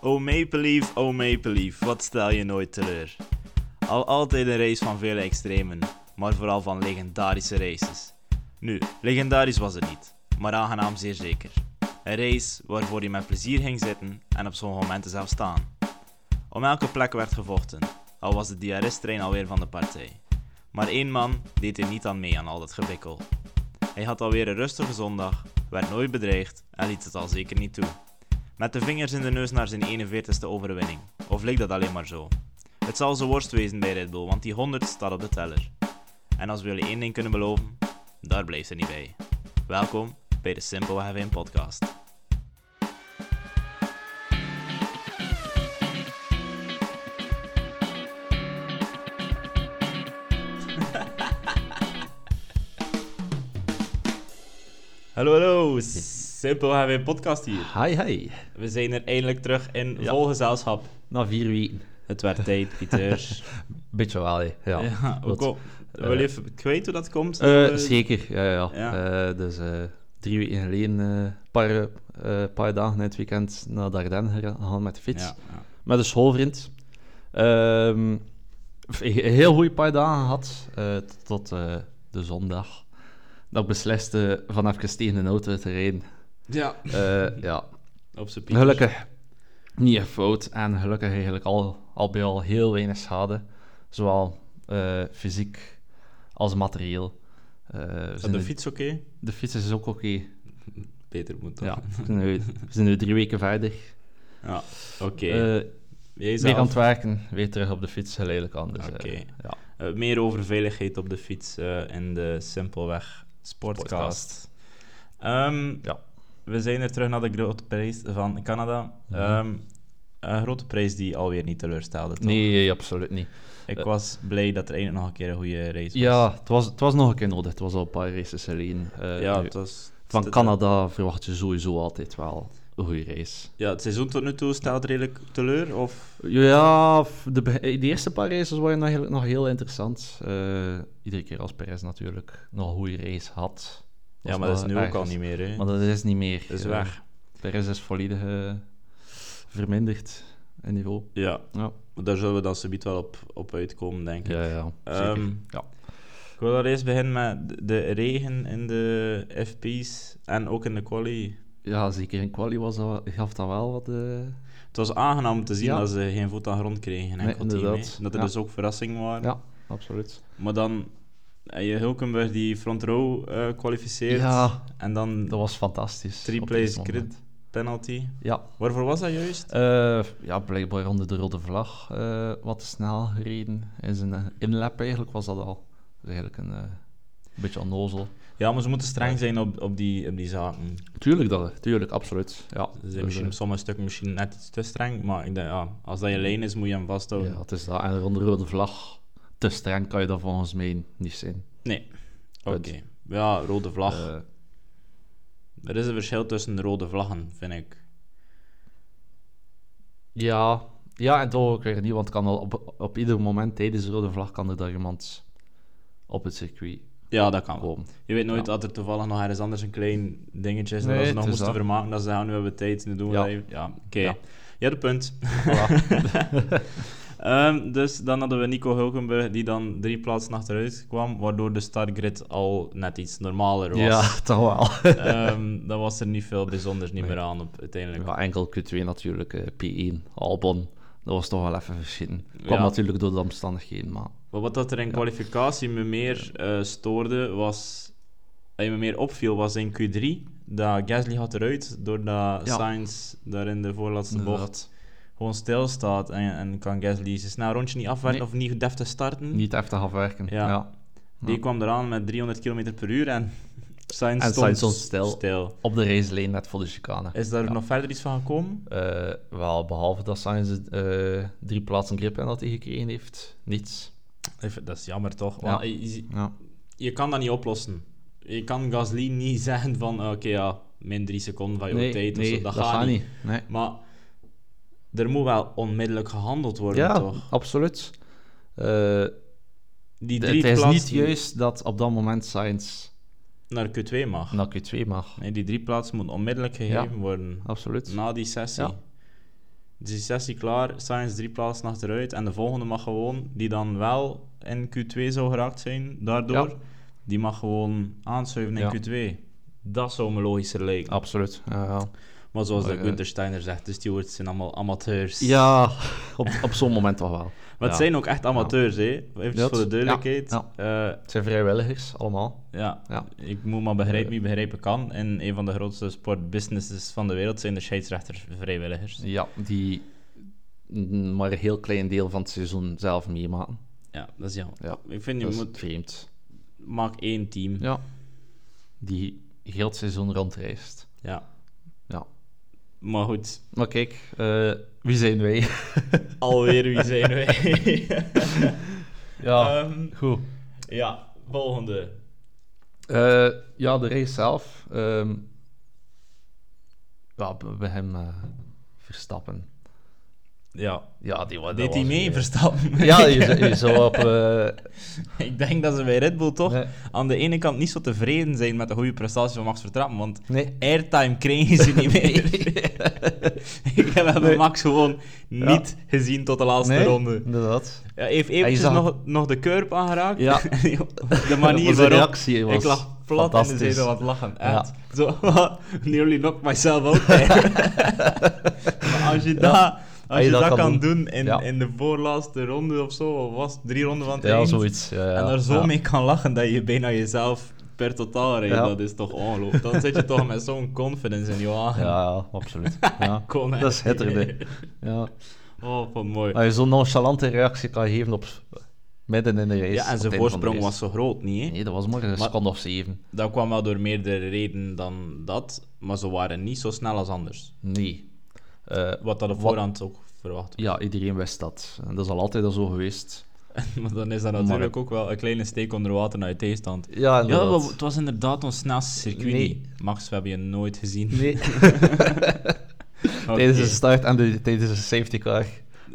Oh Maple Leaf, oh Maple Leaf, wat stel je nooit teleur. Al altijd een race van vele extremen, maar vooral van legendarische races. Nu, legendarisch was het niet, maar aangenaam zeer zeker. Een race waarvoor je met plezier ging zitten en op sommige momenten zelf staan. Om elke plek werd gevochten, al was de diarrestrein alweer van de partij. Maar één man deed er niet aan mee aan al dat gebikkel. Hij had alweer een rustige zondag, werd nooit bedreigd en liet het al zeker niet toe. Met de vingers in de neus naar zijn 41ste overwinning. Of leek dat alleen maar zo? Het zal zijn worst wezen bij Red Bull, want die 100 staat op de teller. En als we jullie één ding kunnen beloven, daar blijft ze niet bij. Welkom bij de Simple Have In podcast. Hallo, hallo. Simple Have In podcast hier. Hi, hi. We zijn er eindelijk terug in Ja. vol gezelschap. Na vier weken. Het werd tijd, Pieter. Beetje wel, hè. Ja. ja, Eh, ook Wat? al. Wil je even kwijt hoe dat komt? Eh, Eh, zeker, ja, ja. Ja. Eh, dus eh, drie weken geleden, een paar, eh, paar dagen in het weekend, naar Dardenne gera- gegaan met de fiets. Ja, ja. Met een schoolvriend. Ehm, f- een heel goede paar dagen gehad, eh, t- tot eh, de zondag. Dat ik besliste van even tegen een auto te rijden. Eh, ja, op zijn piek. Gelukkig niet echt fout en gelukkig eigenlijk al, al bij al heel weinig schade, zowel eh, fysiek als materieel. Eh, we Is zijn Ah, de nu- fiets oké? de fiets is ook oké. Peter moet dat. Ja, we, zijn nu, we zijn nu drie weken verder. Ja, Oké. Eh, Jij weer zelf. aan het werken, weer terug op de fiets geleidelijk aan. Dus, eh, Oké. ja. Eh, meer over veiligheid op de fiets eh, in de Simpelweg Sportcast. Sportcast. Ehm, Ja. We zijn er terug naar de grote prijs van Canada. Mhm. Ehm, een grote prijs die alweer niet teleurstelde. Toch? Nee, absoluut niet. Ik eh. was blij dat er eindelijk nog een keer een goede race was. Ja, het was, het was nog een keer nodig. Het was al een paar races alleen. Eh, ja nu, het was. van het- Canada verwacht je sowieso altijd wel een goede race. Ja, het seizoen tot nu toe staat redelijk teleur. Of... Ja, f- de, be- eh, de eerste paar races waren eigenlijk nog heel interessant. Eh, iedere keer als Perez natuurlijk nog een goede race had. Ja, maar dat is nu ook al niet meer. meer. Hè. Maar dat is niet meer. Dat is Eh, weg. Perez is volledig eh, verminderd in niveau. Ja, Ja, daar zullen we dan subiet wel op, op uitkomen, denk ik. ja, ja zeker. Ehm, ja. Ik wil daar eerst beginnen met de- de regen in de FP's en ook in de quali. ja, zeker in quali was dat, wel- gaf dat wel wat... eh, Het was aangenaam om te zien Ja. dat ze geen voet aan grond kregen. Nee, enkel team, inderdaad. hè. dat er Ja. dus ook verrassingen waren. ja, absoluut. Maar dan heb je Hulkenberg die front row eh, kwalificeert. Ja, En dan dat was fantastisch. Three op plays dit moment. penalty. Ja, Waarvoor was dat juist? Eh, ja, blijkbaar onder de rode vlag eh, wat te snel gereden. In zijn eh, inlap eigenlijk was dat al. Dat is eigenlijk een eh, beetje onnozel. Ja, maar ze moeten streng zijn op, op, die, op die zaken. Tuurlijk, dat, tuurlijk, absoluut. Ja, Ze Dus, zijn eh, misschien op sommige stukken misschien net iets te streng. Maar ik denk, ja, als dat je lijn is, moet je hem vasthouden. ja, het is dat. En onder de rode vlag, te streng kan je dat volgens mij niet zijn. Nee. Oké. Punt. Ja, rode vlag. Eh, Er is een verschil tussen rode vlaggen, vind ik. ja, ja, en toch ook weer niet, want het kan al op, op ieder moment tijdens de rode vlag kan er daar iemand op het circuit Ja, dat kan wel. komen. Je weet nooit Ja. dat er toevallig nog ergens anders een klein dingetje is Nee, dat ze het nog is moesten dat. vermaken. Dat ze gaan nu hebben we tijd te doen. Ja. Ja, ja oké. Ja. Je hebt een punt. Voilà. Ehm, dus dan hadden we Nico Hulkenberg, die dan drie plaatsen achteruit kwam, waardoor de startgrid al net iets normaler was. ja, toch wel. Ehm, dan was er niet veel bijzonders niet meer aan op uiteindelijk. Ja, enkel Q2 natuurlijk, eh, P1, Albon. Dat was toch wel even verschieten. Kwam Ja. natuurlijk door de omstandigheden, maar... Maar wat dat er in kwalificatie me meer eh, stoorde, was... Wat me meer opviel, was in Q3. Dat Gasly gaat eruit, doordat Ja. Sainz daar in de voorlaatste bocht Inderdaad. gewoon stilstaat. En, en kan Gasly zijn snel rondje niet afwerken Nee. of niet deftig starten. Niet heftig afwerken. Ja. Ja. Die kwam eraan met 300 km per uur en Sainz En stond, Sainz stond stil. stil. Op de racelijn net voor de chicane. Is daar nog verder iets van gekomen? Eh, wel, behalve dat Sainz eh drie plaatsen grip en dat hij gekregen heeft. Niets. Ik vind- Dat is jammer toch? Ja. Want je, Ja. je kan dat niet oplossen. Je kan Gasly niet zeggen van, "Ah, oké ja, min drie seconden van jouw tijd of zo. Dat, gaat niet. Nee. Maar er moet wel onmiddellijk gehandeld worden, Ja, toch? absoluut. Eh, Die d- drie het is plaatsen niet juist dat op dat moment Sainz naar Q2 mag. naar Q2 mag. Nee, die drie plaatsen moeten onmiddellijk gegeven worden Absoluut. na die sessie. Ja. Dus die sessie klaar, Science drie plaatsen achteruit. En de volgende mag gewoon, die dan wel in Q2 zou geraakt zijn, daardoor, Ja. die mag gewoon aanschuiven in Ja. Q2. Dat zou me logischer lijken. Absoluut. Ja, ja. Maar zoals Maar, de eh, Wintersteiner zegt, de stewards zijn allemaal amateurs. Ja, op, op zo'n moment toch wel. Maar het Ja. zijn ook echt amateurs, hè? Even Ja, voor de duidelijkheid. ja, Ja. Het zijn vrijwilligers, allemaal. ja. Ja. Ik moet maar Eh. begrijpen wie begrijpen kan. En een van de grootste sportbusinesses van de wereld zijn de scheidsrechters vrijwilligers. Ja, die n- maar een heel klein deel van het seizoen zelf meemaken. Ja, dat is jammer. Ja, Ik vind, je dat is moet... vreemd. Maak één team. Ja. Ja. Die heel het seizoen rondreist. Ja. Maar goed, Maar kijk, eh, wie zijn wij? alweer wie zijn wij? ja, Ehm, Eh, goed. ja, volgende. Eh, ja, de race zelf. ehm, ja, b- bij hem eh, Verstappen. Ja. Ja, die was... Deed dat hij was mee, weer- Verstappen? Ja, je, zou- je zou op... eh, Ik denk dat ze bij Red Bull toch Nee. aan de ene kant niet zo tevreden zijn met de goede prestatie van Max Verstappen, want nee. airtime kregen ze niet meer. Ik heb hem Nee. Max gewoon niet gezien tot de laatste Nee, ronde. inderdaad. Ja, hij heeft eventjes zag- nog, nog de curb aangeraakt. Ja. de Dat manier was waarop... de reactie was ik lag plat in de fantastisch. zetel wat lachen. Ja. Echt. Zo, nearly knocked myself out there. maar als je dat... Als je dat, kan, doen in, ja. in de voorlaatste ronde of zo, of was het drie ronden van het Ja, eind, zoiets. Ja, ja. en daar zo Ja. mee kan lachen dat je bijna jezelf per totaal rijdt, Ja. dat is toch ongelooflijk. Dan zit je toch met zo'n confidence in je wagen. Ja, absoluut. Ja. Kon, hè. dat is hitterende. Ja. Oh, wat mooi. Als je zo'n nonchalante reactie kan geven op midden in de race. Ja, op en het zijn einde van voorsprong de was race. zo groot, niet? hè? Nee, dat was maar een Maar- seconde of zeven. Dat kwam wel door meerdere redenen dan dat, maar ze waren niet zo snel als anders. Nee. Eh, Wat dat op Wat- voorhand ook verwacht. ja, iedereen wist dat. En dat is al altijd al zo geweest. maar dan is dat natuurlijk ook wel een kleine steek onder water naar je tegenstand. Ja, Ja, inderdaad. wel, het was inderdaad ons snelste circuit. Nee. niet. Max, we hebben je nooit gezien. Nee, Oké. tijdens de start en de, tijdens de safety car.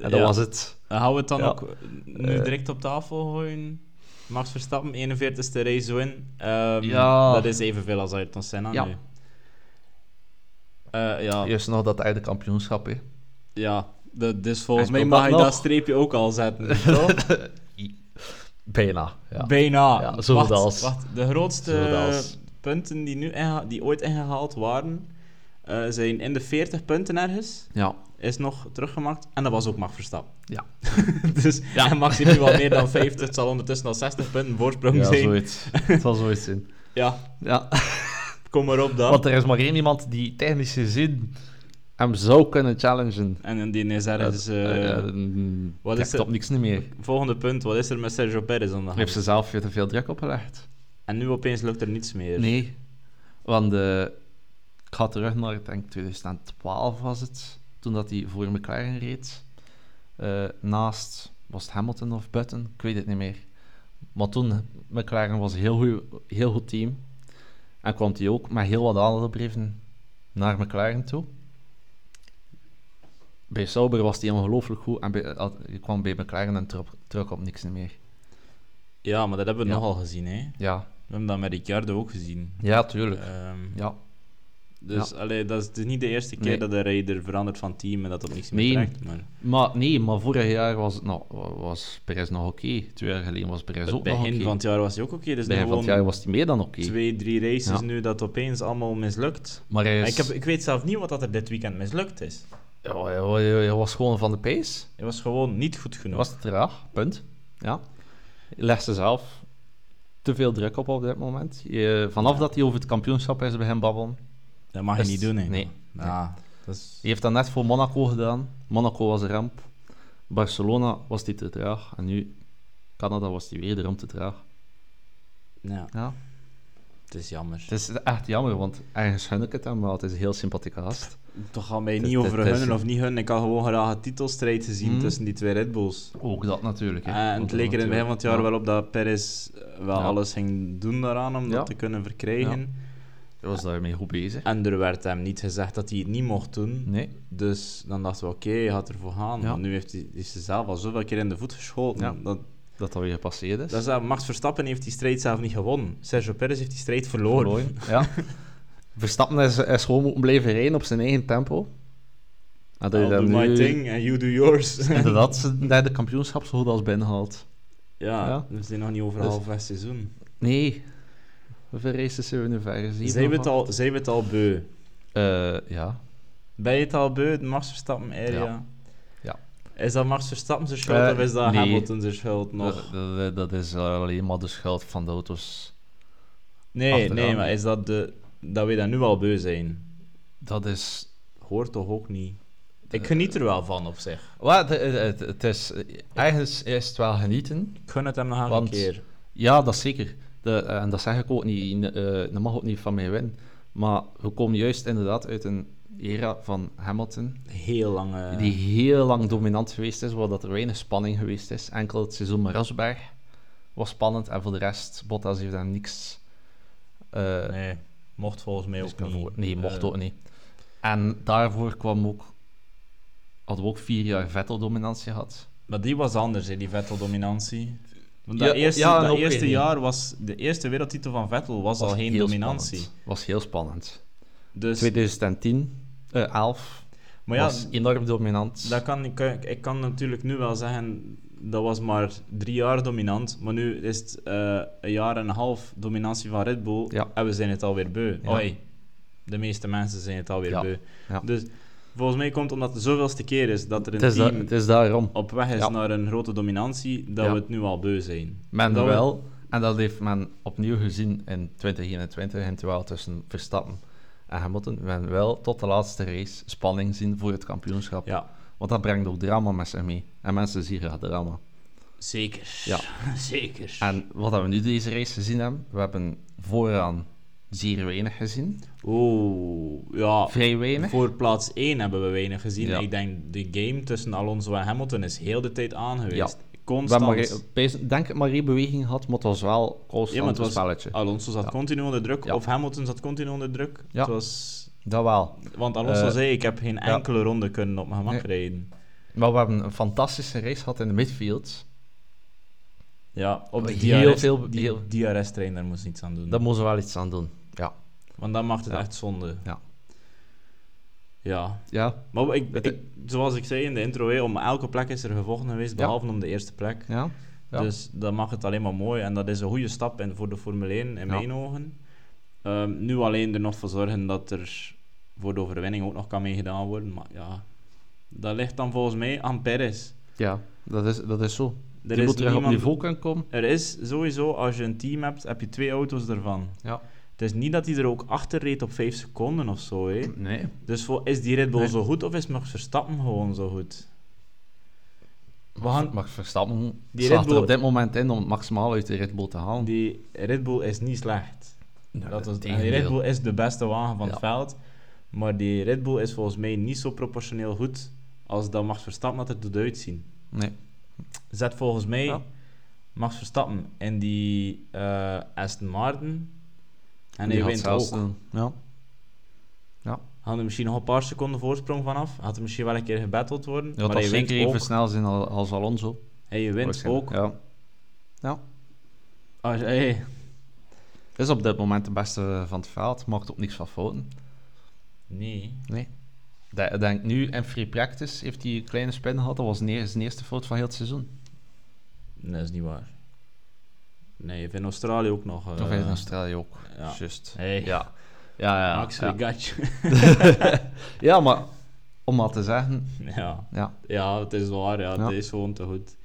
En dat Ja. was het. Dan Gaan we Eh, het dan Ja. Eh. ook nu direct op tafel gooien? Max Verstappen, 41ste race win. Ehm, Ja. Dat is evenveel als Ayrton Senna Ja. nu. Eh, ja, Juist nog dat einde kampioenschap, hè. ja. Dat, dus volgens En mij die mag mag je nog. dat streepje ook al zetten, toch? Bijna, ja. Bijna. Ja, zoveel wacht, als. wacht, de grootste Zoveel als. punten die, nu ingeha- die ooit ingehaald waren, eh, zijn in de 40 punten ergens. ja. Is nog teruggemaakt. En dat was ook Max Verstappen. Ja. dus Ja. en Max heeft nu al meer dan 50. Het zal ondertussen al 60 punten voorsprong Ja, zijn. zoiets. Het zal zoiets zijn. Ja, Ja. kom maar op dan. Want er is maar één iemand die technisch gezien hem zou kunnen challengen. En die is ergens... eh, Eh, eh, mm, wat trekt is er- op niks niet meer. Volgende punt, wat is er met Sergio Perez aan de hand? Heeft ze zelf weer te veel druk opgelegd? En nu opeens lukt er niets meer. Nee. Want eh, ik ga terug naar, ik denk 2012 was het, toen dat hij voor McLaren reed. Eh, naast, was het Hamilton of Button? Ik weet het niet meer. Maar toen, McLaren was een heel goed, heel goed team. En kwam hij ook met heel wat andere brieven naar McLaren toe. Bij Sauber was hij ongelooflijk goed en bij, eh, had- hij kwam bij McLaren en trok, trok op niks meer. Ja, maar dat hebben we Ja. nogal gezien, hè. Ja, We hebben dat met Ricciardo ook gezien. ja tuurlijk. Ehm, Ja. dus allee, dat is het is niet de eerste keer Nee. dat een rijder verandert van team en dat op niks meer Nee. trekt. Maar Maar nee, maar vorig jaar was, het nog, was Perez nog oké. Twee jaar geleden was Perez het ook nog oké. begin van het jaar was hij ook oké. dus nu Begin van gewoon het jaar was hij meer dan oké. twee, drie races Ja. nu dat opeens allemaal mislukt. Maar hij, is, Ik, heb, ik weet zelf niet wat dat er dit weekend mislukt is. ja, hij, hij- hij was gewoon van de pace. Het was gewoon niet goed Hij genoeg. was te traag, punt. Ja. Hij legde zelf te veel druk op op dit moment. Je- vanaf Ja. dat hij over het kampioenschap is bij hem babbelen. Dat mag je Best- niet doen, hè. nee. Ja, dat is... Hij heeft dat net voor Monaco gedaan. Monaco was een ramp. Barcelona was hij te traag. En nu Canada was hij weer de ramp te traag. Ja, Ja. het is jammer. Het is echt jammer, want ergens gun ik het hem wel. Het is een heel sympathieke gast. Toch gaan mij Het- niet het- over het is- hun of niet hun. Ik had gewoon graag een titelstrijd gezien Mhm. tussen die twee Red Bulls. Eh, Ook dat natuurlijk. hè. Ah, en Want het dat leek er in het begin van natuurlijk- het jaar ja. wel op dat Perez eh, wel Ja. alles ging doen daaraan om Ja. dat te kunnen verkrijgen. Hij was daarmee goed bezig. En er werd hem niet gezegd dat hij het niet mocht doen. Nee. Dus dan dachten we, oké, hij gaat ervoor gaan. Ja. Maar nu heeft hij, is hij zelf al zoveel keer in de voet geschoten. Ja. Dat, Dat dat weer gepasseerd is. dat is, dat. Max Verstappen heeft die strijd zelf niet gewonnen. Sergio Perez heeft die strijd verloren. Verlooien, Ja. Verstappen is, is gewoon moeten blijven rijden op zijn eigen tempo. En dat je I'll do dan my nu- thing and you do yours. Inderdaad, ze een derde kampioenschap zo goed als binnenhaalt. ja, Ja. we zijn nog niet over Dus- half het seizoen. Nee. Hoeveel races zijn we nu verder? Zeven Zijn we, of het al, zijn we het al beu? acht? Eh, ja. Ben je het al beu, het Max Verstappen area? Ja. Ja. Is dat Max Verstappen zijn schuld Eh, of is dat nee. Hamilton zijn schuld nog? Dat, dat, dat is alleen maar de schuld van de auto's. Nee, achteraan. nee, maar is dat de... Dat we dat nu al beu zijn? Dat is... Hoort toch ook niet? Eh, Ik geniet er wel van op zich. Wat, het, het- het is... Eigenlijk is het wel genieten. Ik gun het hem nog een Want- keer. Ja, dat zeker. De, eh, en dat zeg ik ook niet, eh, dat mag ook niet van mij winnen. Maar we komen juist inderdaad uit een era van Hamilton, Heel lange... die heel lang dominant geweest is, waar dat er weinig spanning geweest is. Enkel het seizoen met Rosberg was spannend en voor de rest, Bottas heeft daar niks. eh Nee, mocht volgens mij dus ook kan niet. voor- nee, mocht Eh, ook niet. En daarvoor kwam ook, hadden we ook vier jaar Vettel-dominantie gehad. Maar die was anders, hè, die Vettel-dominantie. Want dat Ja, eerste, ja, en dat ook eerste weer niet. jaar was... De eerste wereldtitel van Vettel was, al geen heel dominantie. spannend. Was heel spannend. Dus, 2010, eh 11, maar ja, was enorm dominant. dat kan, ik, kan- ik kan natuurlijk nu wel zeggen... Dat was maar drie jaar dominant. Maar nu is het eh, een jaar en een half dominantie van Red Bull. Ja. En we zijn het alweer beu. Ja. Oei, de meeste mensen zijn het alweer Ja. beu. Ja. Dus volgens mij komt het omdat het de zoveelste keer is dat er een het, is da- team het is daarom. op weg is Ja. naar een grote dominantie, dat Ja. we het nu al beu zijn. Men dat we- wel, en dat heeft men opnieuw gezien in 2021, en terwijl tussen Verstappen en Hamilton, men wel tot de laatste race spanning zien voor het kampioenschap. Ja, Want dat brengt ook drama met zich mee. En mensen zien graag drama. zeker. Ja. zeker. En wat dat we nu deze race gezien hebben, we hebben vooraan zeer weinig gezien. Oeh, ja. Vrij weinig. Voor plaats 1 hebben we weinig gezien. Ja. Ik denk de game tussen Alonso en Hamilton is heel de tijd aan geweest. We hebben Constant. maar, één- bij- denk ik maar één beweging gehad, maar het was wel constant Ja, maar het een was- spelletje. Alonso zat Ja. continu onder druk, Ja. of Hamilton zat continu onder druk. Ja. Het was... Dat wel. Want Alonso Eh, zei, ik heb geen enkele ronde kunnen op mijn gemak rijden. Maar we hebben een fantastische race gehad in de midfield. Ja, op de Heel DRS, veel- die heel- DRS-trein, daar moest niets aan doen. Daar moeten we wel iets aan doen. Ja. Want dan maakt het Ja. echt zonde. Ja. Ja. Ja. Maar ik, Het- ik- zoals ik zei in de intro, hè, om elke plek is er gevochten geweest, Ja. behalve om de eerste plek. Ja. Ja. Dus dat maakt het alleen maar mooi. En dat is een goede stap in, voor de Formule 1, in Ja. mijn ogen. Ehm, nu alleen er nog voor zorgen dat er voor de overwinning ook nog kan meegedaan worden. Maar ja, dat ligt dan volgens mij aan Perez. Ja, dat is, dat is zo. Er je is, moet terug op niemand- niveau kunnen komen. er is sowieso, als je een team hebt, heb je twee auto's ervan. Ja. Het is niet dat hij er ook achter reed op 5 seconden of zo. Hè. Nee. Dus voor, is die Red Bull Nee. zo goed of is Max Verstappen gewoon zo goed? We gaan- Max Verstappen Die Red slaat Bull- er op dit moment in om het maximaal uit de Red Bull te halen. Die Red Bull is niet slecht. Nee, dat was, en die tegendeel. Red Bull is de beste wagen van het Ja. veld. Maar die Red Bull is volgens mij niet zo proportioneel goed als dat Max Verstappen dat er doet uitzien. Nee. Zet volgens mij Ja. Max Verstappen in die eh, Aston Martin. En Die hij gaat wint zelfs ook. doen. Ja. Had er misschien nog een paar seconden voorsprong vanaf. Had er misschien wel een keer gebatteld worden. Ja, maar dat hij wint zeker even ook. snel zijn al- als Alonso. En je wint waarschijnlijk. ook. Ja. Als, hey, Is op dit moment de beste van het veld. Maakt ook niks van fouten. nee. Nee. Ik denk nu in free practice heeft hij een kleine spin gehad. Dat was neer, zijn eerste fout van heel het seizoen. Dat is niet waar. Nee, in Australië ook nog. eh, of in Australië ook. ja. Just. Hey. Ja. Ja, ja. Max, ja. we got you. Ja, maar om maar te zeggen, ja. ja. ja, het is waar. Ja, Ja. Het is gewoon te goed.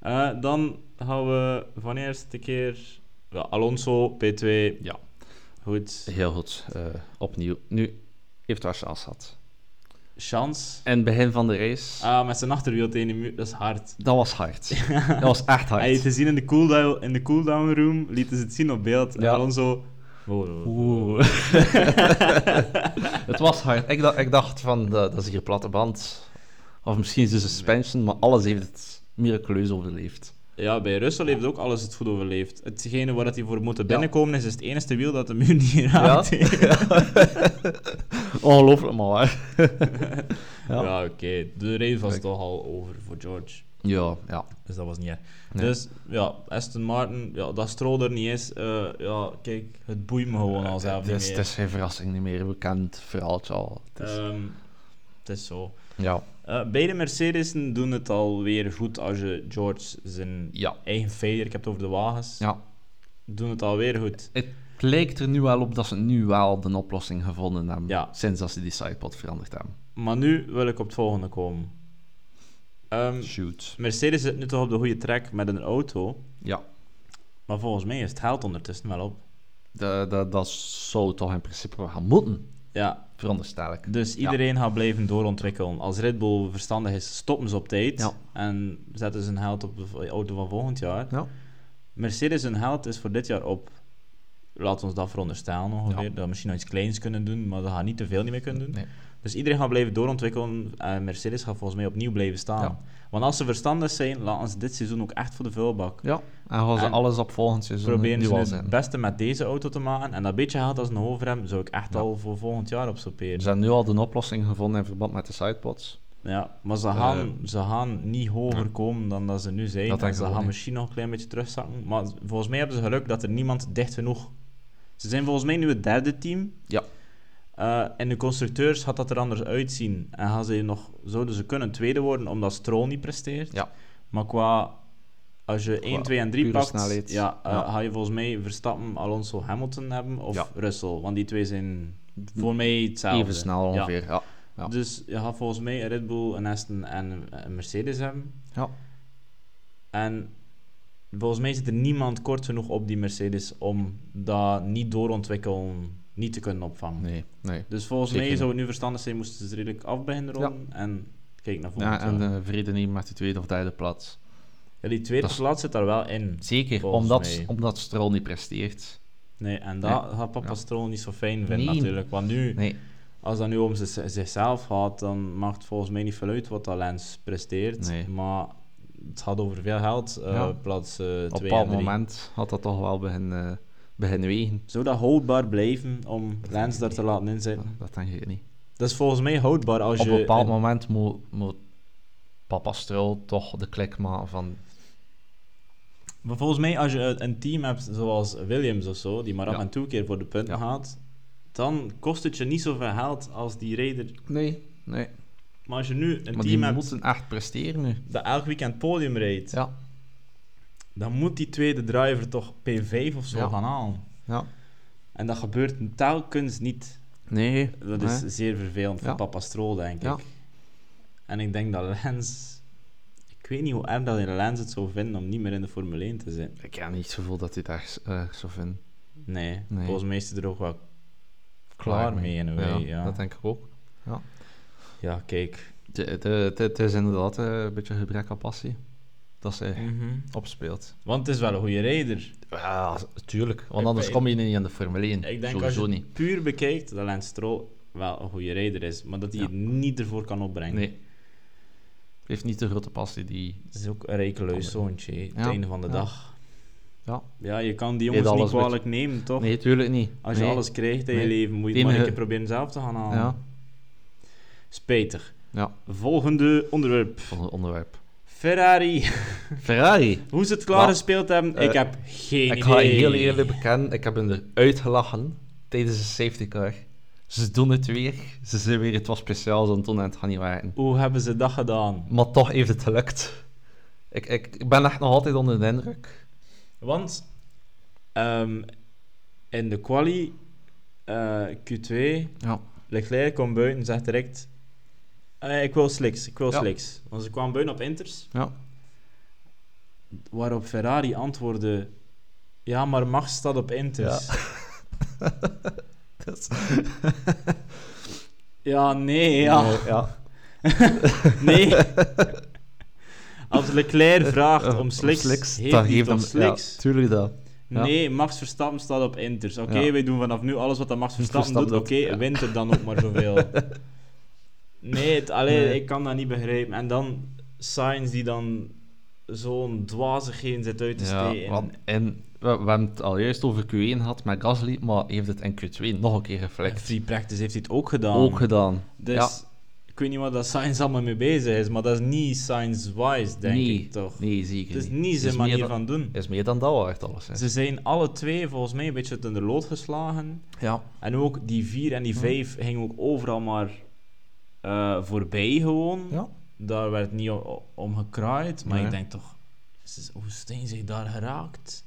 Eh, dan gaan we van eerst een keer... Ja, Alonso, P2. Ja. Goed. Heel goed, eh, opnieuw. Nu heeft waar chance gehad. Chance. En het begin van de race, Ah, met zijn achterwiel tegen de muur. Dat is hard. dat was hard. dat was echt hard. Hij te zien in de, cooldown, in de cooldown room. Lieten ze het zien op beeld. En Ja. Alonso... wow, wow, wow. Oeh. het was hard. Ik, dacht- ik dacht van, eh, dat, dat is hier platte band. Of misschien is het een suspension, maar alles heeft het miraculeus overleefd. Ja, bij Russell heeft ook alles het goed overleefd. Hetgene waar dat hij voor moet binnenkomen is, is het enige wiel dat de muur niet raakt. Ja. Ongelooflijk, maar waar. Ja, Ja. oké. De race was Kijk. toch al over voor George. Ja, ja. Dus dat was niet erg. Nee. Dus ja, Aston Martin, ja, dat Stroll er niet is. eh, ja, kijk, het boeit me gewoon al zelf Eh, het, niet is, meer. Eh. het is geen verrassing niet meer. We kennen het verhaaltje al. Het is- Ehm, het is zo. Ja. Eh, beide Mercedes'en doen het alweer goed als je George zijn Ja. eigen failure, ik heb het over de wagens, ja. doen het alweer goed. Het lijkt er nu wel op dat ze nu wel de oplossing gevonden hebben. Ja. Sinds dat ze die sidepod veranderd hebben. Maar nu wil ik op het volgende komen. Ehm, Shoot. Mercedes zit nu toch op de goede track met een auto, Ja. maar volgens mij is het geld ondertussen wel op. Dat, dat, dat zou toch in principe wel gaan moeten, Ja, veronderstel ik. dus iedereen gaat blijven doorontwikkelen. Als Red Bull verstandig is, stoppen ze op tijd Ja. en zetten ze hun geld op de v- auto van volgend jaar. Ja. Mercedes hun geld is voor dit jaar op. Laten we dat veronderstellen ongeveer. Ja. Dat we misschien nog iets kleins kunnen doen, maar dat gaat niet te veel niet meer kunnen doen. Nee. Dus iedereen gaat blijven doorontwikkelen en Mercedes gaat volgens mij opnieuw blijven staan. Ja. Want als ze verstandig zijn, laten ze dit seizoen ook echt voor de vuilbak. Ja. En gaan ze En alles op volgend seizoen Proberen nu ze al het zijn. beste met deze auto te maken. En dat beetje geld als ze nog over hebben, zou ik echt Ja. al voor volgend jaar op Ze sorteren. hebben nu al de oplossing gevonden in verband met de sidepods. Ja, maar ze gaan, ze gaan niet hoger komen dan dat ze nu zijn. Ehm, Dat En denk ik ze ook gaan niet. misschien nog een klein beetje terugzakken. Maar volgens mij hebben ze geluk dat er niemand dicht genoeg... Ze zijn volgens mij nu het derde team. Ja. Eh, en de constructeurs had dat er anders uitzien. En gaan ze nog, zouden ze kunnen tweede worden omdat Stroll niet presteert. Ja. Maar qua... Als je 1, 2 en 3 pure pakt, snelheid. Ja, eh, Ja. ga je volgens mij Verstappen, Alonso, Hamilton hebben of Ja. Hm. Russell. Want die twee zijn voor mij hetzelfde. Even snel Ja. ongeveer. Ja. ja. Dus je gaat volgens mij een Red Bull, een Aston en een Mercedes hebben. Ja. En volgens mij zit er niemand kort genoeg op die Mercedes om dat niet doorontwikkelen, niet te kunnen opvangen. Nee, nee. Dus volgens Zeker mij niet. zou het nu verstandig zijn, moesten ze redelijk af beginnen rollen en kijk naar volgend Ja, en eh, jaar. de vrede niet met die tweede of derde plaats. Ja, die tweede dat is- plaats zit daar wel in. Zeker, Volgens omdat, mij. omdat Stroll niet presteert. Nee, en dat gaat papa Ja. Stroll niet zo fijn vinden Nee. natuurlijk. Want nu, Nee, als dat nu om zich- zichzelf gaat, dan maakt het volgens mij niet veel uit wat dat Lens presteert. Nee. Maar het gaat over veel geld, eh, Ja. plaats 2 op een en bepaald 3. moment had dat toch wel begin, eh begin wegen. Zou dat houdbaar blijven om Dat denk Lens ik daar te niet. laten inzitten? Dat denk ik niet. Dat is volgens mij houdbaar als Op je... een bepaald een- moment moet, moet papa Stroll toch de klik maken van... Maar volgens mij, als je een- een team hebt zoals Williams of zo, die maar af Ja. en toe een keer voor de punten Ja. gaat, dan kost het je niet zoveel geld als die raider. Nee, nee. Maar als je nu een maar die team hebt moeten echt presteren nu. dat elk weekend podium rijdt, Ja, dan moet die tweede driver toch P5 of zo Ja. gaan halen. ja. En dat gebeurt telkens niet. Nee. Dat is nee. zeer vervelend voor Ja. papa Stroll, denk Ja. ik. En ik denk dat Lens... Ik weet niet hoe erg dat in Lens het zou vinden om niet meer in de Formule 1 te zijn. Ik heb niet het gevoel dat hij daar eh, zo vindt. Nee, Nee. volgens mij is hij er ook wel klaar mee in een way. Ja, dat denk ik ook. Ja, kijk. Het- Het het- het is inderdaad eh, een beetje gebrek aan passie. Dat ze opspeelt. Want het is wel een goede rijder. Ja, tuurlijk. Want Ik anders ben- kom je niet in de Formule 1. Ik denk als Sowieso je niet. het puur bekijkt dat Lance Stroll wel een goede rijder is, maar dat hij Ja. het niet ervoor kan opbrengen. Nee. Heeft niet de grote passie die... Het is ook een rekeluis zoontje, hè, het Ja, einde van de ja. dag. Ja. Ja, je kan die Eet jongens niet alles met- kwalijk nemen, toch? Nee, tuurlijk niet. Als je Nee. alles krijgt in je Nee. leven, moet je Het het maar een enige- keer proberen zelf te gaan halen. Ja. Spijtig. Ja, Volgende onderwerp. van het onderwerp. Ferrari. Ferrari. Hoe ze het klaargespeeld hebben, ik eh, heb geen idee. ik ga je heel eerlijk bekennen, ik heb hen eruit gelachen tijdens de safety car. Ze doen het weer. Ze zijn weer, het was speciaal, ze doen en het gaat niet werken. Hoe hebben ze dat gedaan? Maar toch heeft het gelukt. Ik, ik, ik ben echt nog altijd onder de indruk. Want ehm, in de quali eh, Q2, Ja. Leclerc komt buiten en zegt direct: "Eh, Ik wil sliks, ik wil Ja. sliks. Want ze kwamen buiten op Inters. Ja. Waarop Ferrari antwoordde: Ja, maar Max staat op Inters. Ja, Dat is- nee, ja, Nee, ja. nee. Als Leclerc vraagt Eh, om sliks, heeft dan hij het geef om hem- sliks. Ja, tuurlijk dat. ja. Nee, Max Verstappen staat op Inters. Oké, Ja. wij doen vanaf nu alles wat dat Max Verstappen, Verstappen doet. Oké, doet, ja. wint er dan ook maar zoveel. nee, het, allee, Nee. ik kan dat niet begrijpen. En dan Sainz die dan zo'n dwazigheden zit uit te Ja, steken. want en we, we hebben het al juist over Q1 gehad met Gasly, maar heeft het in Q2 nog een keer En geflikt. Free Practice heeft hij het ook gedaan. Ook gedaan. dus ja. ik weet niet waar dat Sainz allemaal mee bezig is, maar dat is niet Sainz-wise, denk nee, ik toch. Nee, zeker Het is niet. niet zijn meer manier dan- van doen. is meer dan dat waard alles. Hè. Ze zijn alle twee volgens mij een beetje ten de lood geslagen. Ja. En ook die 4 en die 5 gingen ook overal maar eh, voorbij gewoon. Ja. Daar werd niet o- o- om gekraaid, maar Nee. ik denk toch, is- is- hoe steen zich daar geraakt?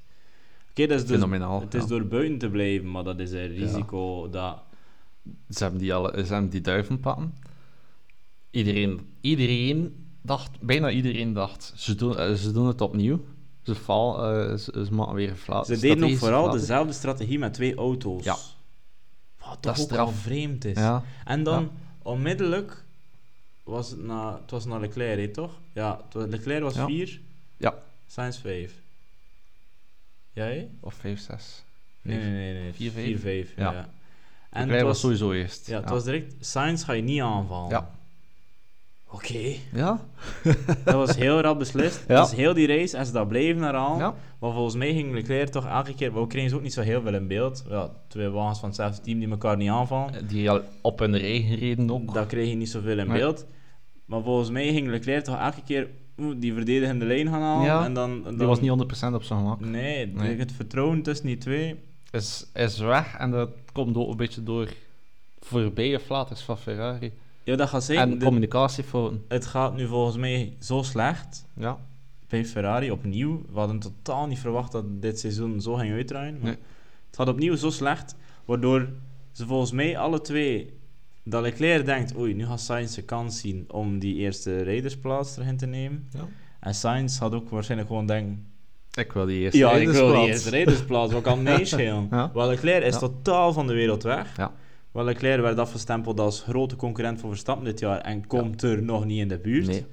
Oké, dat is dus, Fenomenaal. het is ja. door buiten te blijven, maar dat is een risico dat... Ze hebben die, alle, ze hebben die duivenpatten. Iedereen, iedereen dacht, bijna iedereen dacht, ze doen, eh, ze doen het opnieuw. Ze, val, eh, ze, ze maken weer flat. Ze deden ook vooral dezelfde strategie met twee auto's. Ja. Wat Dat toch is ook straf. al vreemd is. Ja, En dan onmiddellijk was het na, het was naar Leclerc, hè, toch? Ja, het was- Leclerc was Ja. 4, ja. Sainz 5. Jij? of 5, 6. Nee, nee, nee. nee. Vier, vijf. 4, 5. Ja. Ja. En En het was was, sowieso eerst. ja, het was direct, Sainz ga je niet aanvallen. Ja. Oké, Ja? dat was heel rap beslist. Ja. Dat is heel die race, en ze dat bleven herhalen. Ja. Maar volgens mij ging Leclerc toch elke keer... We kregen ze ook niet zo heel veel in beeld. Ja, twee wagens van hetzelfde team die elkaar niet aanvallen. Die al op hun regen reden ook. Daar kreeg je niet zoveel in Nee. beeld. Maar volgens mij ging Leclerc toch elke keer oeh, die verdedigende lijn gaan halen. Ja, en dan, dan, Die was niet 100% op zijn gemak. Nee, de- Nee. het vertrouwen tussen die twee. Is, is weg en dat komt ook een beetje door voorbije flaters van Ferrari. Ja, dat gaat zeker. En de- communicatiefouten. het gaat nu volgens mij zo slecht Ja. bij Ferrari opnieuw. We hadden totaal niet verwacht dat dit seizoen zo ging uitdraaien. Maar Nee. Het gaat opnieuw zo slecht, waardoor ze volgens mij alle twee... Dat Leclerc denkt, oei, nu gaat Sainz de kans zien om die eerste rijdersplaats erin te nemen. Ja. En Sainz had ook waarschijnlijk gewoon denken, Ik wil die eerste Ja, ik rijdersplaats. wil die eerste rijdersplaats. Wat kan meeschelen? Ja. Wel, Leclerc is Ja. totaal van de wereld weg. Ja. Wel, Leclerc werd afgestempeld als grote concurrent voor Verstappen dit jaar en komt er nog niet in de buurt. Nee,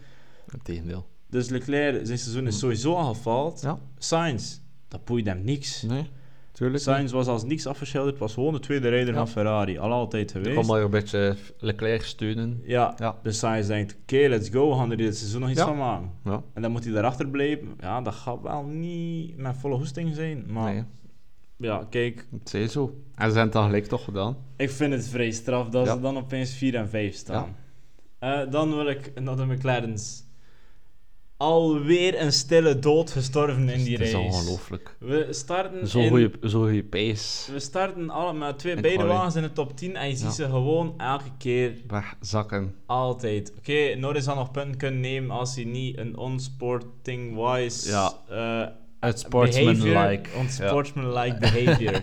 het tegendeel. Dus Leclerc, zijn seizoen Hm. is sowieso al gefaald. Ja. Sainz, dat boeit hem niks. Nee, tuurlijk Sainz was als niks afgeschilderd, was gewoon de tweede rijder Ja. van Ferrari. Al altijd Ik geweest. kon maar een beetje Leclerc steunen. Ja. Ja. Dus Sainz denkt, oké, let's go, we gaan er dit seizoen nog iets Ja. van maken. Ja. En dan moet hij daarachter blijven. Ja, dat gaat wel niet met volle hoesting zijn. Maar Nee, ja, kijk, het is zo. En ze zijn het dan gelijk toch gedaan. Ik vind het vrij straf dat Ja. ze dan opeens 4 en 5 staan. Eh, dan wil ik naar de McLaren's. Alweer een stille dood gestorven in die het is race. ongelooflijk. We starten, Zo'n in- goede zo goeie pace. we starten alle, met twee En beide quali. wagens in de top 10 en je ziet Ja. ze gewoon elke keer Wegzakken. altijd. Oké, Norris had nog punten kunnen nemen als hij niet een unsporting-wise Ja. eh, Het behavior- sportsmanlike. Unsportsmanlike behavior.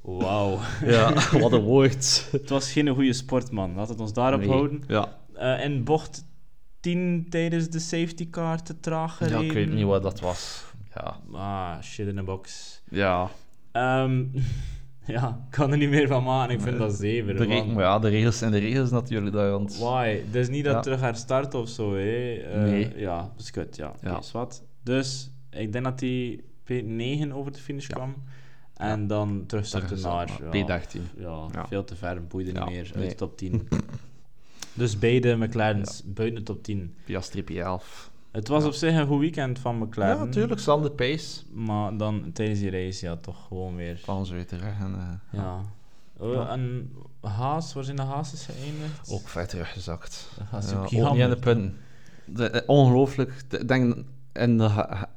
Wauw. Ja. ja, wat een woord. Het was geen goede sportman. Laat het ons daarop Nee. houden. Ja. Eh, en bocht 10 tijdens de safety car te traag ja, gereden. ik weet niet wat dat was. Ja. Ah, shit in a box. Ja, Ehm, ja, ik kan er niet meer van maken. Ik vind dat de, zeven. re- man. maar ja, de regels zijn de regels natuurlijk daar, want... Why? Het is niet dat Ja. terug herstart of zo, hè? Eh, Nee. Ja, dat is kut, ja. Oké, Ja. is wat. Dus, ik denk dat hij P9 over de finish kwam. En dan terug startte naar... ja, P13. ja, Ja. veel te ver, boeide Ja, niet meer. Uit nee. de top 10. dus beide McLaren's buiten de top 10. Piastri P11. Het was op zich een goed weekend van McLaren. Ja, natuurlijk, Sam de pace. Maar dan tijdens die race, ja, toch gewoon weer. Van ze weer terug en... eh, Ja. Oh, En Haas, waar zijn de Haas is geëindigd? Ook ver teruggezakt. Dat is Ja, ook ook niet aan de jammer. punten. De- eh, ongelooflijk. De- Ik denk, in de, ha- ha-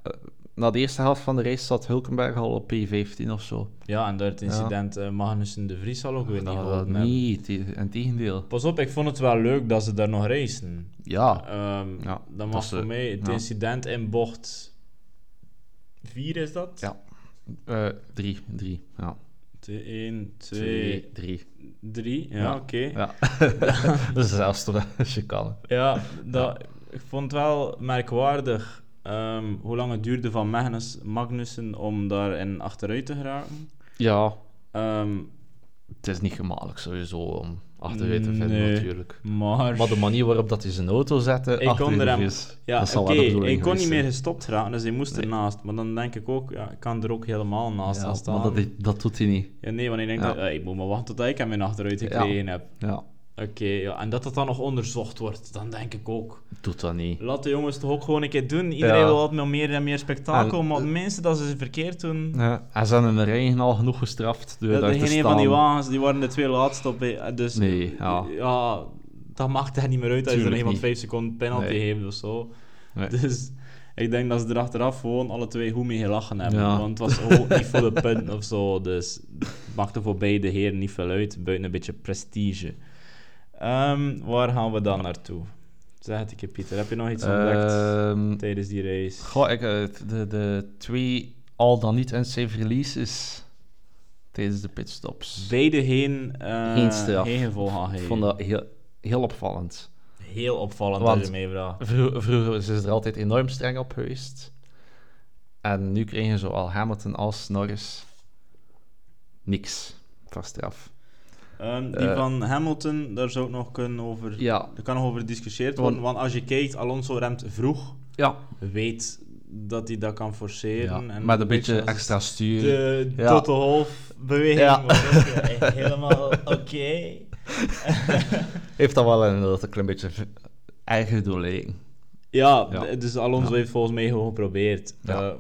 na de eerste helft van de race zat Hulkenberg al op P15 of zo. Ja, en door het incident eh, Magnussen de Vries zal ook weer niet dat, geholpen hebben. niet, in tegendeel. Pas op, ik vond het wel leuk dat ze daar nog racen. Ja, Ehm Ja, dat dat was is, voor eh, mij het ja. incident in bocht 4 is dat? Ja. eh, drie, drie. Ja. 1, 2, drie. 3. Ja, Ja. oké. Ja. dus zelfs tot als je kan. Ja, dat, ik vond het wel merkwaardig ehm, hoe lang het duurde van Magnus, Magnussen om daarin achteruit te geraken. Ja, Ehm, het is niet gemakkelijk sowieso om achteruit te vinden Nee. natuurlijk. maar... Maar de manier waarop dat hij zijn auto zette, Ik kon achterin er de hem- vries, ja, dat oké, zal wel de bedoeling ik kon niet geweest meer zijn. gestopt geraken, dus hij moest ernaast. Maar dan denk ik ook, ja, ik kan er ook helemaal naast gaan Ja, staan. maar dat, dat doet hij niet. Ja, nee, want ik denk, Ja. dat, eh, ik moet maar wachten tot ik hem in achteruit gekregen heb. Ja, Oké, ja, en dat dat dan nog onderzocht wordt, dan denk ik ook. doet dat niet. Laat de jongens toch ook gewoon een keer doen. Iedereen Ja. wil altijd maar meer en meer spektakel, En- eh, maar mensen dat ze verkeerd doen... Ja, en ze hebben de regen al genoeg gestraft door Ja, daar de te geen een staan. van die wagens, die waren de twee laatste op. eh, Dus Nee, ja. dat maakt echt niet meer uit als je er Tuurlijk iemand niet. 5 seconden penalty Nee. geeft of zo. Nee. Dus ik denk dat ze er achteraf gewoon alle twee goed mee gelachen hebben. Ja. Want het was gewoon niet voor de punten of zo. Dus het maakte voor beide heren niet veel uit, buiten een beetje prestige. Ehm, waar gaan we dan naartoe? Zeg het een keer, Pieter. Heb je nog iets Eh, ontdekt Ehm, tijdens die race? Goh, ik, eh, de, de twee al dan niet en safe releases tijdens de pitstops. Beide geen, eh Geen straf. geen gevolg aan Ik geven. vond dat heel, heel opvallend. Heel opvallend Want- dat je meevraagt. Vroeger, vroeger is er altijd enorm streng op geweest. En nu kregen zowel Hamilton als Norris niks van straf. Ehm, die Eh. van Hamilton, daar zou ik nog kunnen over... Ja, Er kan nog over gediscussieerd worden, want als je kijkt, Alonso remt vroeg. ja. Weet dat hij dat kan forceren. En Met een beetje als- extra stuur. De Ja. Toto Wolff beweging Ja. was ook, eh, helemaal oké. Heeft dat wel inderdaad een klein beetje v- eigen doorlegen. Ja, Ja. d- dus Alonso Ja. heeft volgens mij gewoon geprobeerd. Ja. Eh,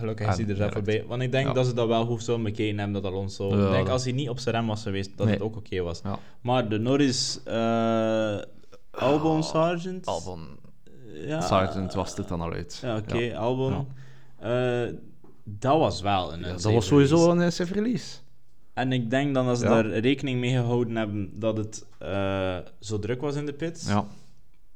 gelukkig is En hij er zelf direct. voorbij. Want ik denk Ja. dat ze dat wel goed zullen bekeken hebben, dat Alonso... Ja, ik denk dat- als hij niet op zijn rem was geweest, dat Nee. het ook oké was. Ja. Maar de Norris... eh Albon Sargent? Oh, Albon Ja. Sargent Ah. was dit dan al uit. Ja, oké, Albon. Ja. Eh, dat was wel een... Ja, dat safe was sowieso release. een eh, safe release. En ik denk dan dat ze Ja. daar rekening mee gehouden hebben dat het eh, zo druk was in de pits. Ja.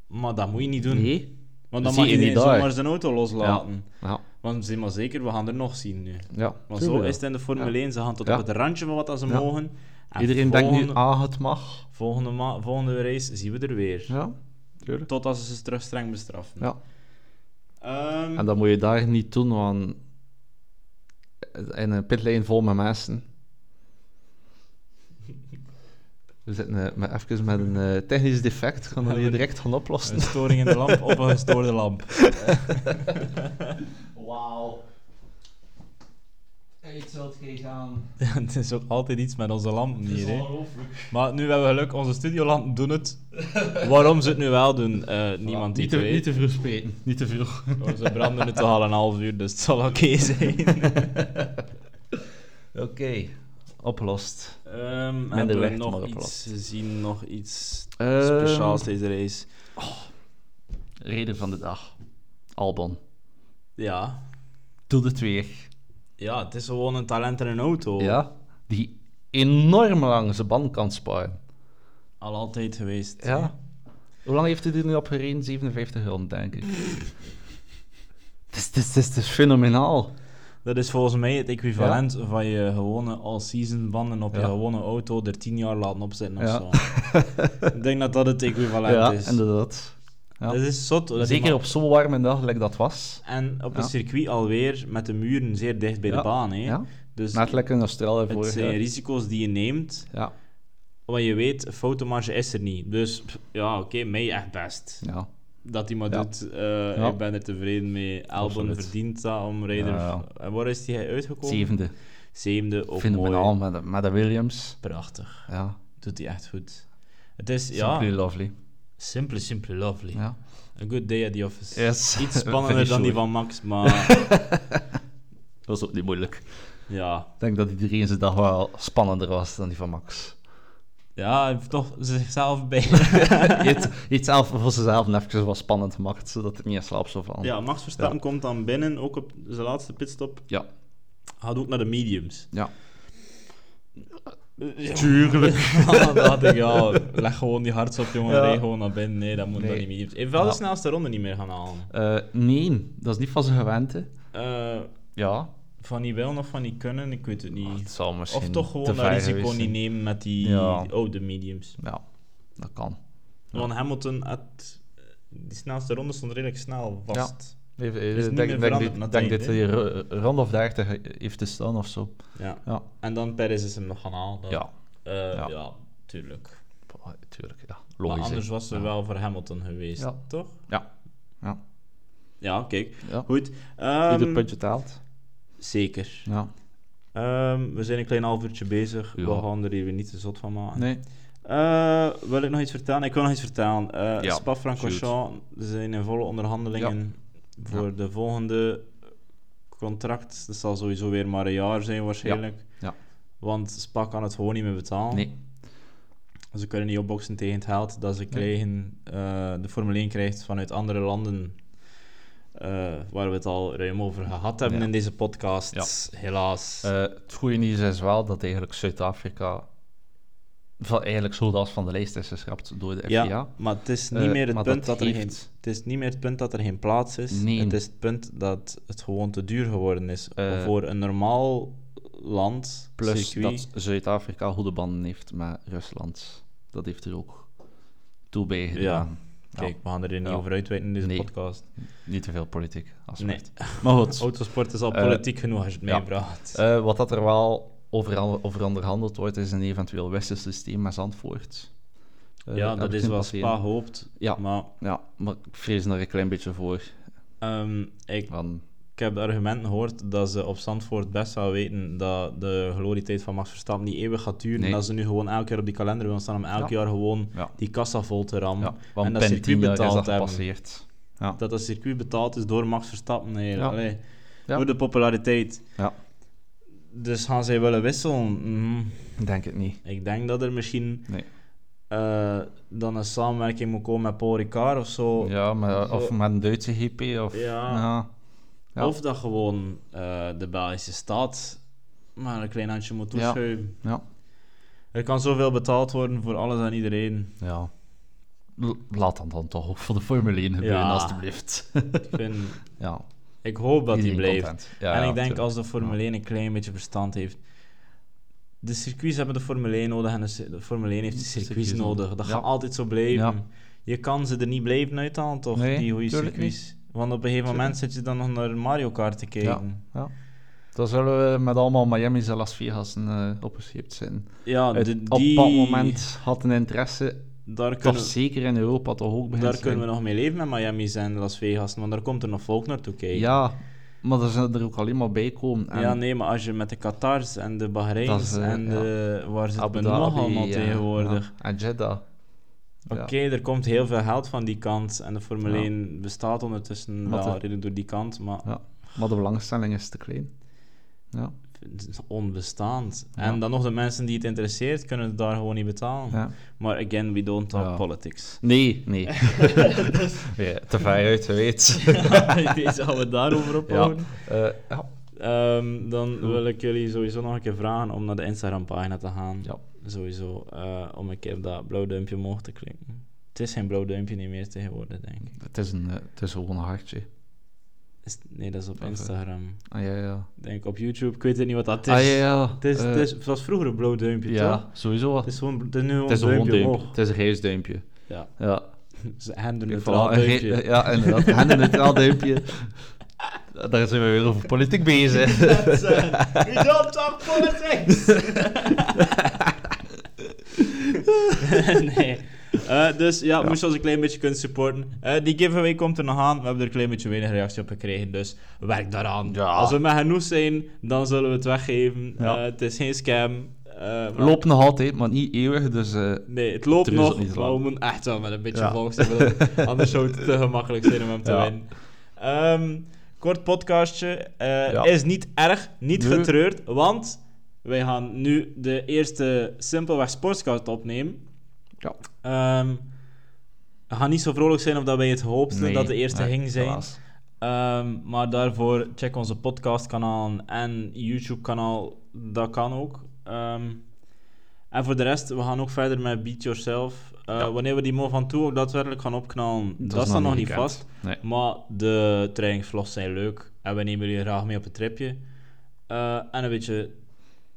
Maar dat moet je niet doen. Nee. Want dan Zie mag je iedereen niet daar. zomaar zijn auto loslaten. Ja. Want zeg maar zeker, we gaan er nog zien nu. ja. Maar zo Tuurlijk. is het in de Formule 1. Ze gaan tot Ja. op het randje van wat dat ze Ja. mogen. En Iedereen denkt volgende- nu, ah, het mag. Volgende, ma- volgende race zien we er weer. Ja, tuurlijk. Totdat ze ze terug streng bestraffen. Ja. Ehm, En dat moet je daar niet doen, want in een pitlane vol met mensen. We zitten eh, met, even met een eh, technisch defect, gaan we Ja, die we- direct gaan oplossen. een storing in de lamp of een gestoorde lamp. Wauw. Ik zou het geen gaan. het is ook altijd iets met onze lampen hier. Hè. ongelooflijk. Maar nu hebben we geluk, onze studiolampen doen het. Waarom ze het nu wel doen, eh, niemand die niet, te, het weet. niet te vroeg spreken, niet te vroeg. Oh, Ze branden het al een half uur, dus het zal oké zijn. Oké, opgelost. Ehm Minder hebben we licht, nog maar iets opgelost. gezien, nog iets Ehm, speciaals deze race? Reden van de dag. Albon. Ja. Doe het weer. ja, het is gewoon een talent in een auto. Ja. Die enorm lang zijn band kan sparen. Al altijd geweest. Ja. Hoe lang heeft hij er nu op gereden? 57 rond, denk ik. Het is, het is, het is, het is fenomenaal. Dat is volgens mij het equivalent van je gewone all-season banden op je Ja. gewone auto er tien jaar laten opzetten of Ja. zo. Ik denk dat dat het equivalent ja, is. inderdaad. Ja. Dat is zot. Dat Zeker iemand- op zo'n warme dag, like dat was. En op een Ja. circuit alweer met de muren zeer dicht bij de Ja. baan. Hè. Ja. Dus Net lekker in Australië het vorig zijn jaar. risico's die je neemt. Ja, Want je weet, fotomarge is er niet. Dus pff, ja, oké, mij echt best. ja. Dat hij maar Ja. doet, eh, Ja. ik ben er tevreden mee. Albon Absoluut. verdient dat om rijder... Ja, ja. En waar is hij uitgekomen? Zevende. Zevende, ook Fenomenaal mooi. met de, met de Williams. Prachtig. Ja, Doet hij echt goed. Het is, ja, simply simply, lovely. simply, lovely. Ja. A good day at the office. Yes. Iets spannender Finish dan die hoor. van Max, maar Dat was ook niet moeilijk. ja. Ik denk dat iedereen zijn dag wel spannender was dan die van Max. Ja, hij heeft toch zichzelf bij. Iets- Iets zelf voor zichzelf even wat spannend gemaakt, zodat het niet in slaap zou vallen. ja, Max Verstappen komt dan binnen, ook op zijn laatste pitstop. Ja. Gaat ook naar de mediums. Ja. Tuurlijk. dat dacht ik, ja, leg gewoon die harts op, jongen. Ja. Rij gewoon naar binnen. Nee, dat moet Nee. dan niet meer. Hij heeft wel de Ja. snelste ronde niet meer gaan halen. Eh, nee, dat is niet van zijn gewente. Eh, Ja. van die willen of van die kunnen, ik weet Ah, het Het niet. zal misschien Of toch te gewoon dat ver risico geweest niet zijn. nemen met die Ja. oude mediums. Ja, dat kan. Want Hamilton had... eh, Die snelste ronde stond redelijk snel vast. Even, niet ik meer denk, veranderd denk, dit- na tijd, denk dit hè? hij ro- eh, rond of 30 heeft te staan of zo. Ja. Ja. En dan Perez is hem nog gaan halen. Dat- Ja, Eh, ja. Ja. tuurlijk. tuurlijk. Ja. maar Logisch. hè. anders was ze Ja. wel voor Hamilton geweest, Ja. toch? Ja. Ja. Ja, kijk. Ja. Goed. Ehm, Ieder puntje taalt. Zeker. Ja. Ehm, we zijn een klein half uurtje bezig. Ja. We gaan er hier weer niet te zot van maken. Nee. Eh, wil ik nog iets vertellen? Ik wil nog iets vertellen. Eh Ja, Spa-Francorchamps zijn in volle onderhandelingen voor Ja. de volgende contract. Dat zal sowieso weer maar een jaar zijn waarschijnlijk. Ja. Want Spa kan het gewoon niet meer betalen. Nee. Ze kunnen niet opboksen tegen het geld dat ze krijgen, eh, de Formule 1 krijgt vanuit andere landen. eh, waar we het al ruim over gehad hebben Ja. in deze podcast. Helaas. Eh, het goede nieuws is wel dat eigenlijk Zuid-Afrika van, eigenlijk zoals van de lijst is geschrapt door de FIA. Ja, maar het is niet Eh, meer het maar punt dat dat er geen... heeft- Het is niet meer het punt dat er geen plaats is. Nee. Het is het punt dat het gewoon te duur geworden is. Eh. voor een normaal land, Plus circuit... dat Zuid-Afrika goede banden heeft met Rusland. Dat heeft er ook toe bij gedaan. Kijk, we gaan er hier niet Ja. over uitweiden in deze Nee. podcast. Niet te veel politiek Nee. aspect. Maar goed, Autosport is al Eh, politiek genoeg als je het ja. meebracht. eh, wat dat er wel over, an- over onderhandeld wordt, is een eventueel wisselsysteem met Zandvoort. Eh, ja, heb dat ik is zien wat passeren. Spa hoopt. Ja. Maar Ja, maar ik vrees er een klein beetje voor. ehm, ik, Van, ik heb de argumenten gehoord dat ze op Zandvoort best wel weten dat de glorietijd van Max Verstappen niet eeuwig gaat duren. Nee. En dat ze nu gewoon elk jaar op die kalender willen staan om elk Ja. jaar gewoon ja, die kassa vol te rammen. ja, want en dat binnen circuit tien jaar is betaald dat hebben. gepasseerd. Dat dat circuit betaald is door Max Verstappen. Hey, Ja. allee. Ja. Door de populariteit. Ja. Dus gaan zij willen wisselen? Mm, Ik Denk het niet. ik denk dat er misschien Nee. eh, dan een samenwerking moet komen met Paul Ricard of zo. Ja, maar, of Zo. met een Duitse GP of... Ja. ja. Ja. Of dat gewoon eh, de Belgische staat maar een klein handje moet Ja. toeschuiven. Ja. Er kan zoveel betaald worden voor alles en iedereen. Ja. L- laat dan dan toch ook voor de Formule 1 gebeuren, Ja. alstublieft. Ik, vind, ja, ik hoop dat die iedereen blijft. content. Ja, en ja, ik denk tuurlijk. als de Formule 1 een klein beetje verstand heeft. De circuits hebben de Formule 1 nodig en de, cir- de Formule 1 heeft de circuits, circuits nodig. nodig. Dat Ja. gaat altijd zo blijven. Ja. Je kan ze er niet blijven uithalen, toch? Nee, die goede tuurlijk circuits. Want op een gegeven moment zit je dan nog naar Mario Kart te kijken. Dan zullen we met allemaal Miami's en Las Vegas eh opgescheept zijn. Ja, Het- de- Op die, dat moment had een interesse, daar toch kunnen, zeker in Europa, toch ook begint daar kunnen we nog mee leven met Miami en Las Vegas, want daar komt er nog volk naartoe kijken. Ja, maar er zijn er ook alleen maar bij komen. En Ja, nee, maar als je met de Qatars en de Dat Bahreins is, eh, en ja. de, waar zit Abu men Dhabi, eh, nog allemaal ja, tegenwoordig? ja. En Jeddah. Oké, er komt heel veel geld van die kant en de Formule Ja. 1 bestaat ondertussen Wat wel de- redelijk door die kant, maar Ja. Maar de belangstelling is te klein. Ja, het is onbestaand. Ja. En dan nog de mensen die het interesseert, kunnen het daar gewoon niet betalen. ja. Maar again, we don't talk Ja. politics. Nee, nee. ja, te ver uit, je weet. Deze gaan we daarover Ja. ophouden. Eh, ja. Ehm, dan wil ik jullie sowieso nog een keer vragen om naar de Instagram-pagina te gaan. Ja. Sowieso, eh, om een keer op dat blauw duimpje omhoog te klikken. Het is geen blauw duimpje niet meer tegenwoordig, denk ik. Het is, een, eh, het is gewoon een hartje. Is- nee, dat is op Of, eh, Instagram. Ah ja, ja. Denk op YouTube, ik weet het niet wat dat is. ah ja, ja. Het, is, Eh, het, is- het was vroeger een blauw duimpje, toch? ja, sowieso. Het is, gewoon, het is nu gewoon het is een een gewoon duimpje duimpje. omhoog. Het is een geestduimpje. Ja, Ja. dus een Kijk, neutraal voilà, een ge- duimpje. ja, inderdaad. En een neutraal duimpje. Daar zijn we weer over politiek bezig. We don't talk politics! nee. Eh, dus ja, moest je ons een klein beetje kunnen supporten. Eh, die giveaway komt er nog aan. We hebben er een klein beetje weinig reactie op gekregen, dus werk daaraan. Ja. Als we met genoeg zijn, dan zullen we het weggeven. Ja. Eh, het is geen scam. Eh, maar- Loopt nog altijd, maar niet eeuwig. Dus eh, Nee, het loopt Er is het nog, niet maar we lang. moeten echt wel met een beetje Ja. volk zijn. want Anders zou het te gemakkelijk zijn om hem te Ja. winnen. Ehm, kort podcastje. eh, Ja. Is niet erg, niet Nee. getreurd, want wij gaan nu de eerste simpelweg sportscast opnemen. Ja. Ehm, we gaan niet zo vrolijk zijn of dat wij het hoopten nee, dat de eerste nee, ging zijn. helaas. Ehm, maar daarvoor check onze podcastkanaal en YouTube-kanaal. Dat kan ook. Ehm, en voor de rest, we gaan ook verder met Beat Yourself. Eh, Ja. Wanneer we die Mo van Toe ook daadwerkelijk gaan opknallen, dat, is staat nog niet gekend. vast. Nee. Maar de trainingsvlogs zijn leuk en we nemen jullie graag mee op een tripje. Eh, en een beetje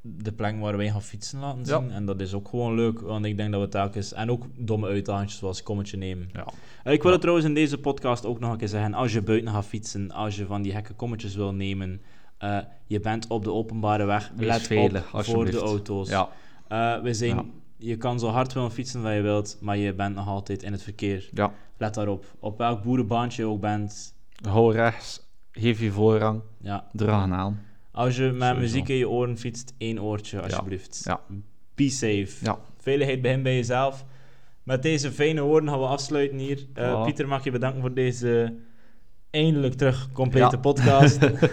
de plek waar wij gaan fietsen laten Ja. zien. En dat is ook gewoon leuk, want ik denk dat we telkens... En ook domme uitdagingen zoals kommetje nemen. Ja. Eh, Ik wil het trouwens in deze podcast ook nog een keer zeggen. Als je buiten gaat fietsen, als je van die gekke kommetjes wil nemen, eh, je bent op de openbare weg. Wees Let veilig, op voor de alsjeblieft. auto's. Ja, Eh, we zijn, Ja. Je kan zo hard willen fietsen wat je wilt, maar je bent nog altijd in het verkeer. ja. Let daarop. Op welk boerenbaantje je ook bent. Hou rechts. Geef je voorrang. Ja. Draag een aan. Als je met Sowieso. muziek in je oren fietst, één oortje alsjeblieft. Ja. Be safe. Ja. Veiligheid begint bij jezelf. Met deze fijne woorden gaan we afsluiten hier. Eh, Voilà. Pieter, mag je bedanken voor deze eindelijk terug complete Ja. podcast. Oké,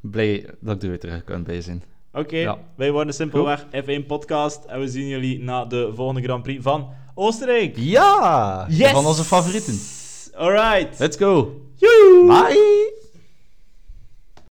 Blij dat ik er weer terug kan bij zijn. Ja. wij worden simpelweg F1 Podcast. En we zien jullie na de volgende Grand Prix van Oostenrijk. Ja! Van onze favorieten. Alright. Let's go. Joehoe. Bye!